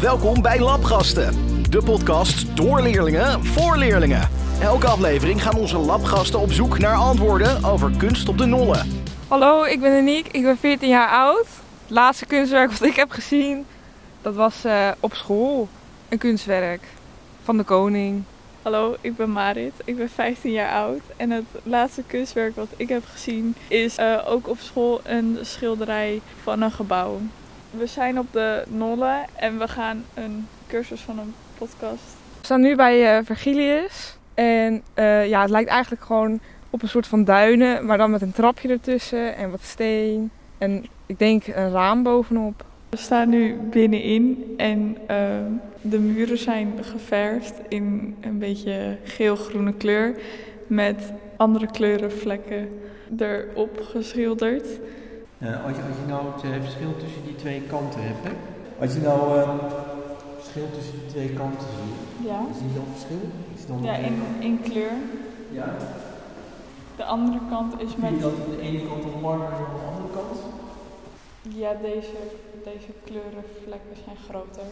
Welkom bij Labgasten, de podcast door leerlingen voor leerlingen. Elke aflevering gaan onze labgasten op zoek naar antwoorden over kunst op de nollen. Hallo, ik ben Aniek, ik ben 14 jaar oud. Het laatste kunstwerk wat ik heb gezien, dat was eh, op school. Een kunstwerk van de koning. Hallo, ik ben Marit. Ik ben 15 jaar oud. En het laatste kunstwerk wat ik heb gezien is eh, ook op school een schilderij van een gebouw. We zijn op de Nolle en we gaan een cursus van een podcast. We staan nu bij eh, Vergilius. En eh, ja, het lijkt eigenlijk gewoon op een soort van duinen, maar dan met een trapje ertussen en wat steen. En ik denk een raam bovenop. We staan nu binnenin en eh, de muren zijn geverfd in een beetje geel-groene kleur met andere kleurenvlekken erop geschilderd. Ja, als, je, als je nou het eh, verschil tussen die twee kanten hebt, hè? Als je nou eh, het verschil tussen die twee kanten ziet, Ja, zie je dan verschil? Is dan ja in, in kleur. ja? De andere kant is Zie met je dat aan de ene kant wat langer dan aan de andere kant? Ja, deze, deze kleurenvlekken zijn groter.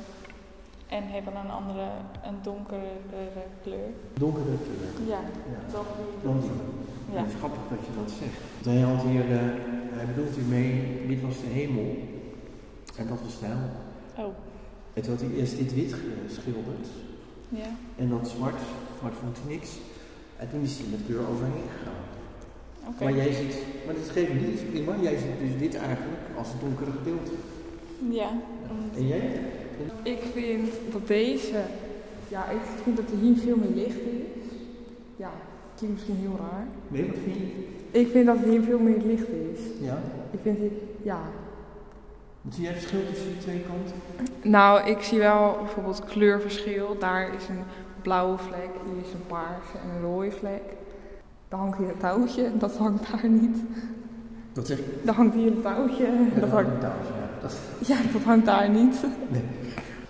En hebben een andere, een donkerdere kleur. Donkere kleur. Ja, Ja. dan eh, Dan die. Ja. Het is grappig dat je dat zegt. Want hij had hier, eh, hij bedoelt hiermee, dit was de hemel en dat was de hel. Oh, Het had hij eerst dit wit geschilderd ja. en dan zwart, maar vond hij niks. En toen is hij met kleur overheen gegaan. Oké. Maar jij ziet, maar dat geeft niet, is prima. Jij ziet dus dit eigenlijk als het donkere gedeelte. Ja. En jij? Ik vind dat deze, ja, ik vind dat er hier veel meer licht is. Ja, klinkt misschien heel raar. Nee, wat vind je? Ik vind dat het hier veel meer licht is. Ja. Ik vind dit, ja. Zie jij verschil tussen de twee kanten? Nou, ik zie wel bijvoorbeeld kleurverschil. Daar is een blauwe vlek, hier is een paarse en een rode vlek. Dan hangt hier een touwtje, dat hangt daar niet. Dat zeg ik. Dan hangt hier een touwtje, dat hangt, thuis, ja. Dat... ja, dat hangt daar niet.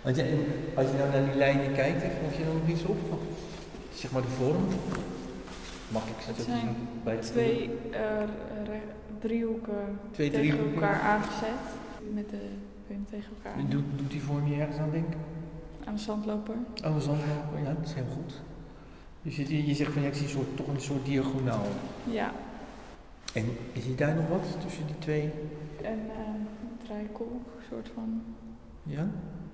Als, je, als je nou naar die lijnen kijkt, hè, vond je dan nog iets op? Van, Zeg maar de vorm. Mag ik Het zetten zijn bij het Twee eh, re- driehoeken twee tegen driehoeken. elkaar aangezet. Met de punt tegen elkaar. Doet, doet die vorm je ergens aan denken? Aan de zandloper. Oh, een zandloper. Ja, dat is heel goed. Dus je, je zegt van ja, ik zie een soort, toch een soort diagonaal. Ja. En zie daar nog wat tussen die twee? Een eh, draaikolk, soort van. Ja?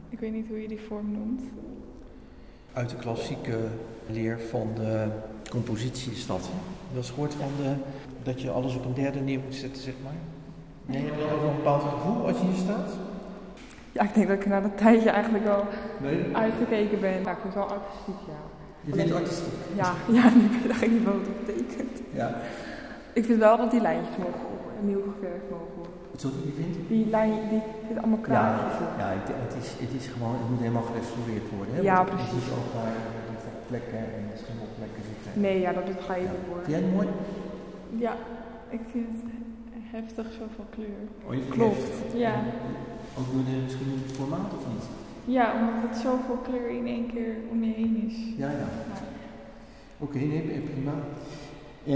Ik weet niet hoe je die vorm noemt. Uit de klassieke leer van de compositie is dat. hè? Je was gehoord van de, dat je alles op een derde neer moet zetten, zeg maar. Nee, je hebt wel ook een bepaald gevoel als je hier staat. Ja, ik denk dat ik na dat tijdje eigenlijk wel Nee. uitgekeken ben. Ja, ik vind het wel artistiek, ja. Je vindt artistiek. Ja, ja, ik weet eigenlijk niet wat het betekent. Ja. Ik vind wel dat die lijntjes mogen worden, en nieuw geverfd mogen worden. Sorry, je vindt? Die lijn, die zit allemaal kraagjes in. Ja, het, het, is, het is gewoon, het moet helemaal gerestaureerd worden. Hè? Ja, Want precies. Je ziet ook daar eh, die plekken en schimmelplekken zitten. Nee, ja, dat ga je Ja. niet worden. Vind jij het mooi? Ja. Ik vind het heftig zoveel kleur. Oh, je vindt Klopt. het heftig. Ja. Ook door de, misschien door het formaat of niet? Ja, omdat het zoveel kleur in één keer om je heen is. Ja, ja. Ja. Oké, nee, prima.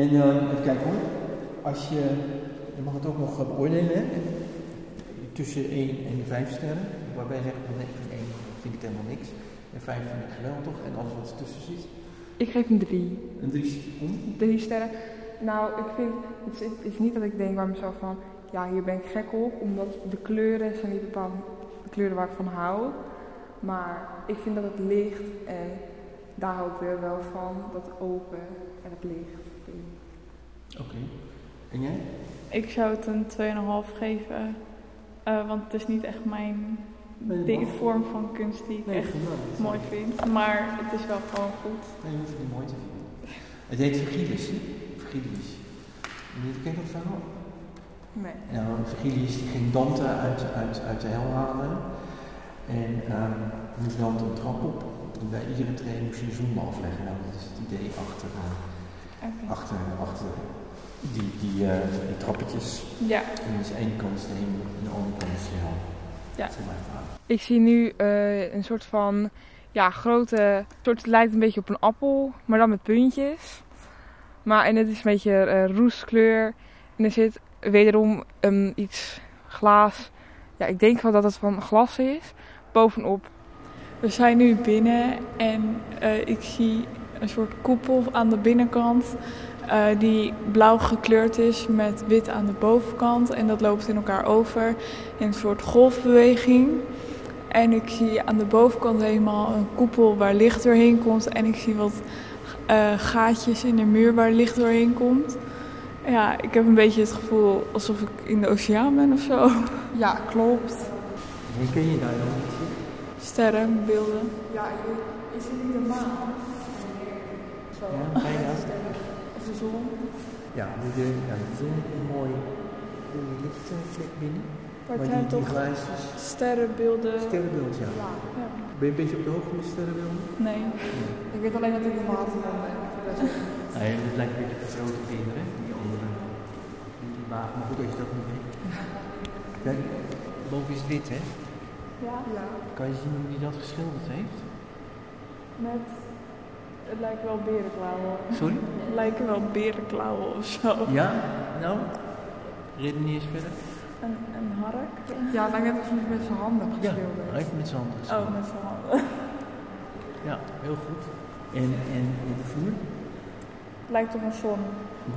En eh, even kijken hoor. Als je, je mag het ook nog eh, beoordelen, hè? Tussen 1 en 5 sterren. Waarbij je zegt van nee, van 1 vind ik het helemaal niks. En 5 vind ik geweldig. En alles wat ertussen zit. Ik geef hem drie. Een 3 zit om. Drie sterren. Nou, ik vind, het is, het is niet dat ik denk bij mezelf van, ja, hier ben ik gek op, omdat de kleuren zijn niet bepaald de kleuren waar ik van hou. Maar ik vind dat het licht en daar hou ik weer wel van, dat open en het licht. Oké. En jij? Ik zou het een 2,5 geven. eh, want het is niet echt mijn Nee, dat ding- mag. vorm van kunst die ik echt geweldig. mooi vind. Maar het is wel gewoon goed. Nee, je hoeft het niet mooi te vinden. Het heet Vergilius. hè? Vergilius. En Ken je dat verhaal? Nee. Nou, Vergilius die ging Dante uit, uit, uit de hel halen. En ehm, moest Dante een trap op. En bij iedere trede moest je een zonde afleggen. Nou, dat is het idee achter, eh, Oké. achter, achter die, die, eh, die trappetjes. Ja, En dus één kant is de hemel en de andere kant is de hel. Ja. Dat is mijn verhaal. Ik zie nu eh, een soort van ja, grote. Soort, het lijkt een beetje op een appel, maar dan met puntjes. Maar en het is een beetje eh, roeskleur. En er zit wederom ehm, een iets glaas. Ja, ik denk wel dat het van glas is. Bovenop. We zijn nu binnen en eh, ik zie een soort koepel aan de binnenkant eh, die blauw gekleurd is met wit aan de bovenkant. En dat loopt in elkaar over in een soort golfbeweging. En ik zie aan de bovenkant helemaal een koepel waar licht doorheen komt. En ik zie wat eh, gaatjes in de muur waar licht doorheen komt. Ja, ik heb een beetje het gevoel alsof ik in de oceaan ben of zo. Ja, klopt. Hoe kun je daar dan niet zien? Sterren, beelden. Ja, is het niet een maan? Zo. Ja, bijna. Of de zon. Ja, hoe de, ja, de zon een mooi eh, lichtplek binnen. Maar het die- zijn die toch glaasjes- sterren, beelden? Sterrenbeeld, ja. Ben je een beetje op de hoogte van de sterrenbeelden? Nee. Ik weet alleen dat ik in water ben. Nee, het lijkt een beetje op grote kinderen, die andere. Maar, maar goed, als je dat niet weet. Kijk, boven is dit, hè? Ja, Ja. Kan je zien hoe die dat geschilderd heeft? met... Het lijkt wel berenklauwen. Sorry? Het lijken wel berenklauwen of zo. Ja? Nou? Redeneer eens verder. Een, een hark. Ja, dan heb ik het met zijn handen Ja, geschilderd. hij heeft met z'n handen Oh, geschilderd. met z'n handen. Ja, heel goed. En, en de vloer? Het lijkt op een zon.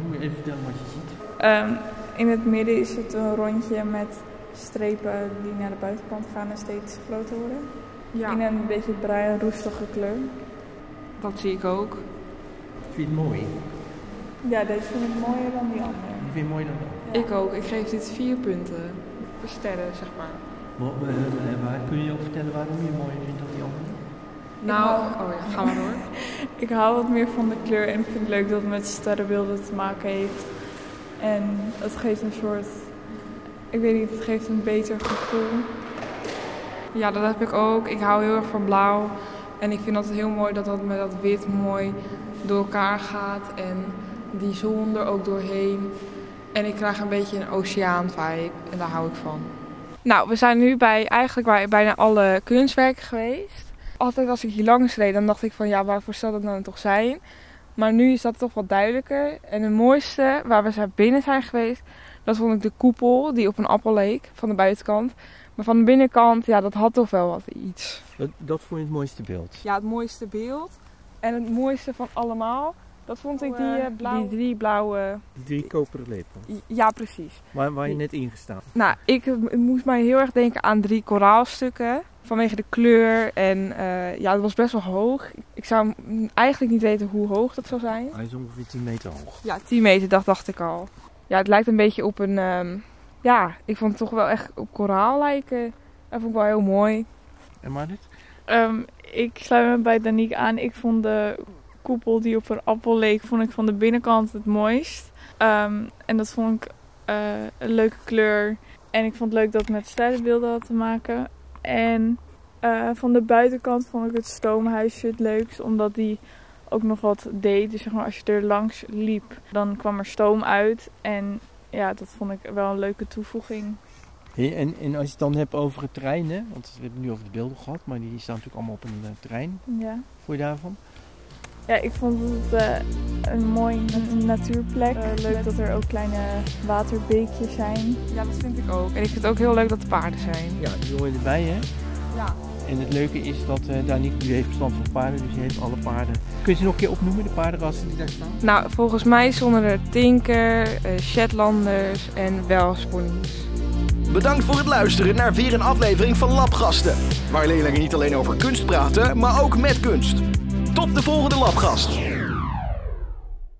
Hoe even vertellen wat je ziet? Ehm, in het midden is het een rondje met strepen die naar de buitenkant gaan en steeds groter worden. Ja, In een beetje bruin, roestige kleur. eh, dat zie ik ook. Vind je het mooi? Ja, deze vind ik mooier dan die andere. Die vind je mooi dan dat? Ja. Ik ook. Ik geef dit vier punten. Voor sterren, zeg maar. Wat, eh, eh, waar, kun je ook vertellen waarom je het mooier vindt dan die andere? Nou, oh ja, gaan we door. Ik hou wat meer van de kleur en ik vind het leuk dat het met sterrenbeelden te maken heeft. En het geeft een soort, ik weet niet, het geeft een beter gevoel. Ja, dat heb ik ook. Ik hou heel erg van blauw. En ik vind dat heel mooi dat dat met dat wit mooi door elkaar gaat. En die zon er ook doorheen. En ik krijg een beetje een oceaan-vibe. En daar hou ik van. Nou, we zijn nu bij eigenlijk bij bijna alle kunstwerken geweest. Altijd als ik hier langs reed, dan dacht ik van ja, waarvoor zal dat nou toch zijn? Maar nu is dat toch wat duidelijker. En de mooiste waar we zijn binnen zijn geweest, dat vond ik de koepel die op een appel leek van de buitenkant. Maar van de binnenkant, ja, dat had toch wel wat iets. Dat, dat vond je het mooiste beeld? Ja, het mooiste beeld en het mooiste van allemaal, dat vond ik die, Blauwe- eh, die drie blauwe. Die drie koperen lepel. Ja, precies. Waar, waar je net ingestaan. Nou, ik eh, moest mij heel erg denken aan drie koraalstukken. Vanwege de kleur en eh, ja, het was best wel hoog. Ik zou mm, eigenlijk niet weten hoe hoog dat zou zijn. Hij is ongeveer 10 meter hoog. Ja, 10 meter, dat dacht ik al. Ja, het lijkt een beetje op een... ehm, ja, ik vond het toch wel echt op koraal lijken. Dat vond ik wel heel mooi. En Marit? Ehm, ik sluit me bij Danique aan. Ik vond de koepel die op een appel leek, vond ik van de binnenkant het mooist. Ehm, en dat vond ik eh, een leuke kleur. En ik vond het leuk dat het met sterrenbeelden had te maken. En eh, van de buitenkant vond ik het stoomhuisje het leukst, omdat die ook nog wat deed. Dus zeg maar, als je er langs liep, dan kwam er stoom uit. En ja, dat vond ik wel een leuke toevoeging. Hey, en, en als je het dan hebt over het terrein, hè? want we hebben het nu over de beelden gehad, maar die staan natuurlijk allemaal op een eh, terrein. Ja. Voor je daarvan? Ja, ik vond het eh, een mooi na- natuurplek. Eh, leuk dat er ook kleine waterbeekjes zijn. Ja, dat vind ik ook. En ik vind het ook heel leuk dat er paarden zijn. Ja, die hoor je erbij hè. Ja. En het leuke is dat eh Danique, die heeft verstand van paarden, dus die heeft alle paarden. Kun je ze nog een keer opnoemen, de paardenrassen die daar staan? Nou, volgens mij stonden er Tinker, eh, Shetlanders en Welsh ponies. Bedankt voor het luisteren naar weer een aflevering van Labgasten. Waar leerlingen niet alleen over kunst praten, maar ook met kunst. Tot de volgende Labgast.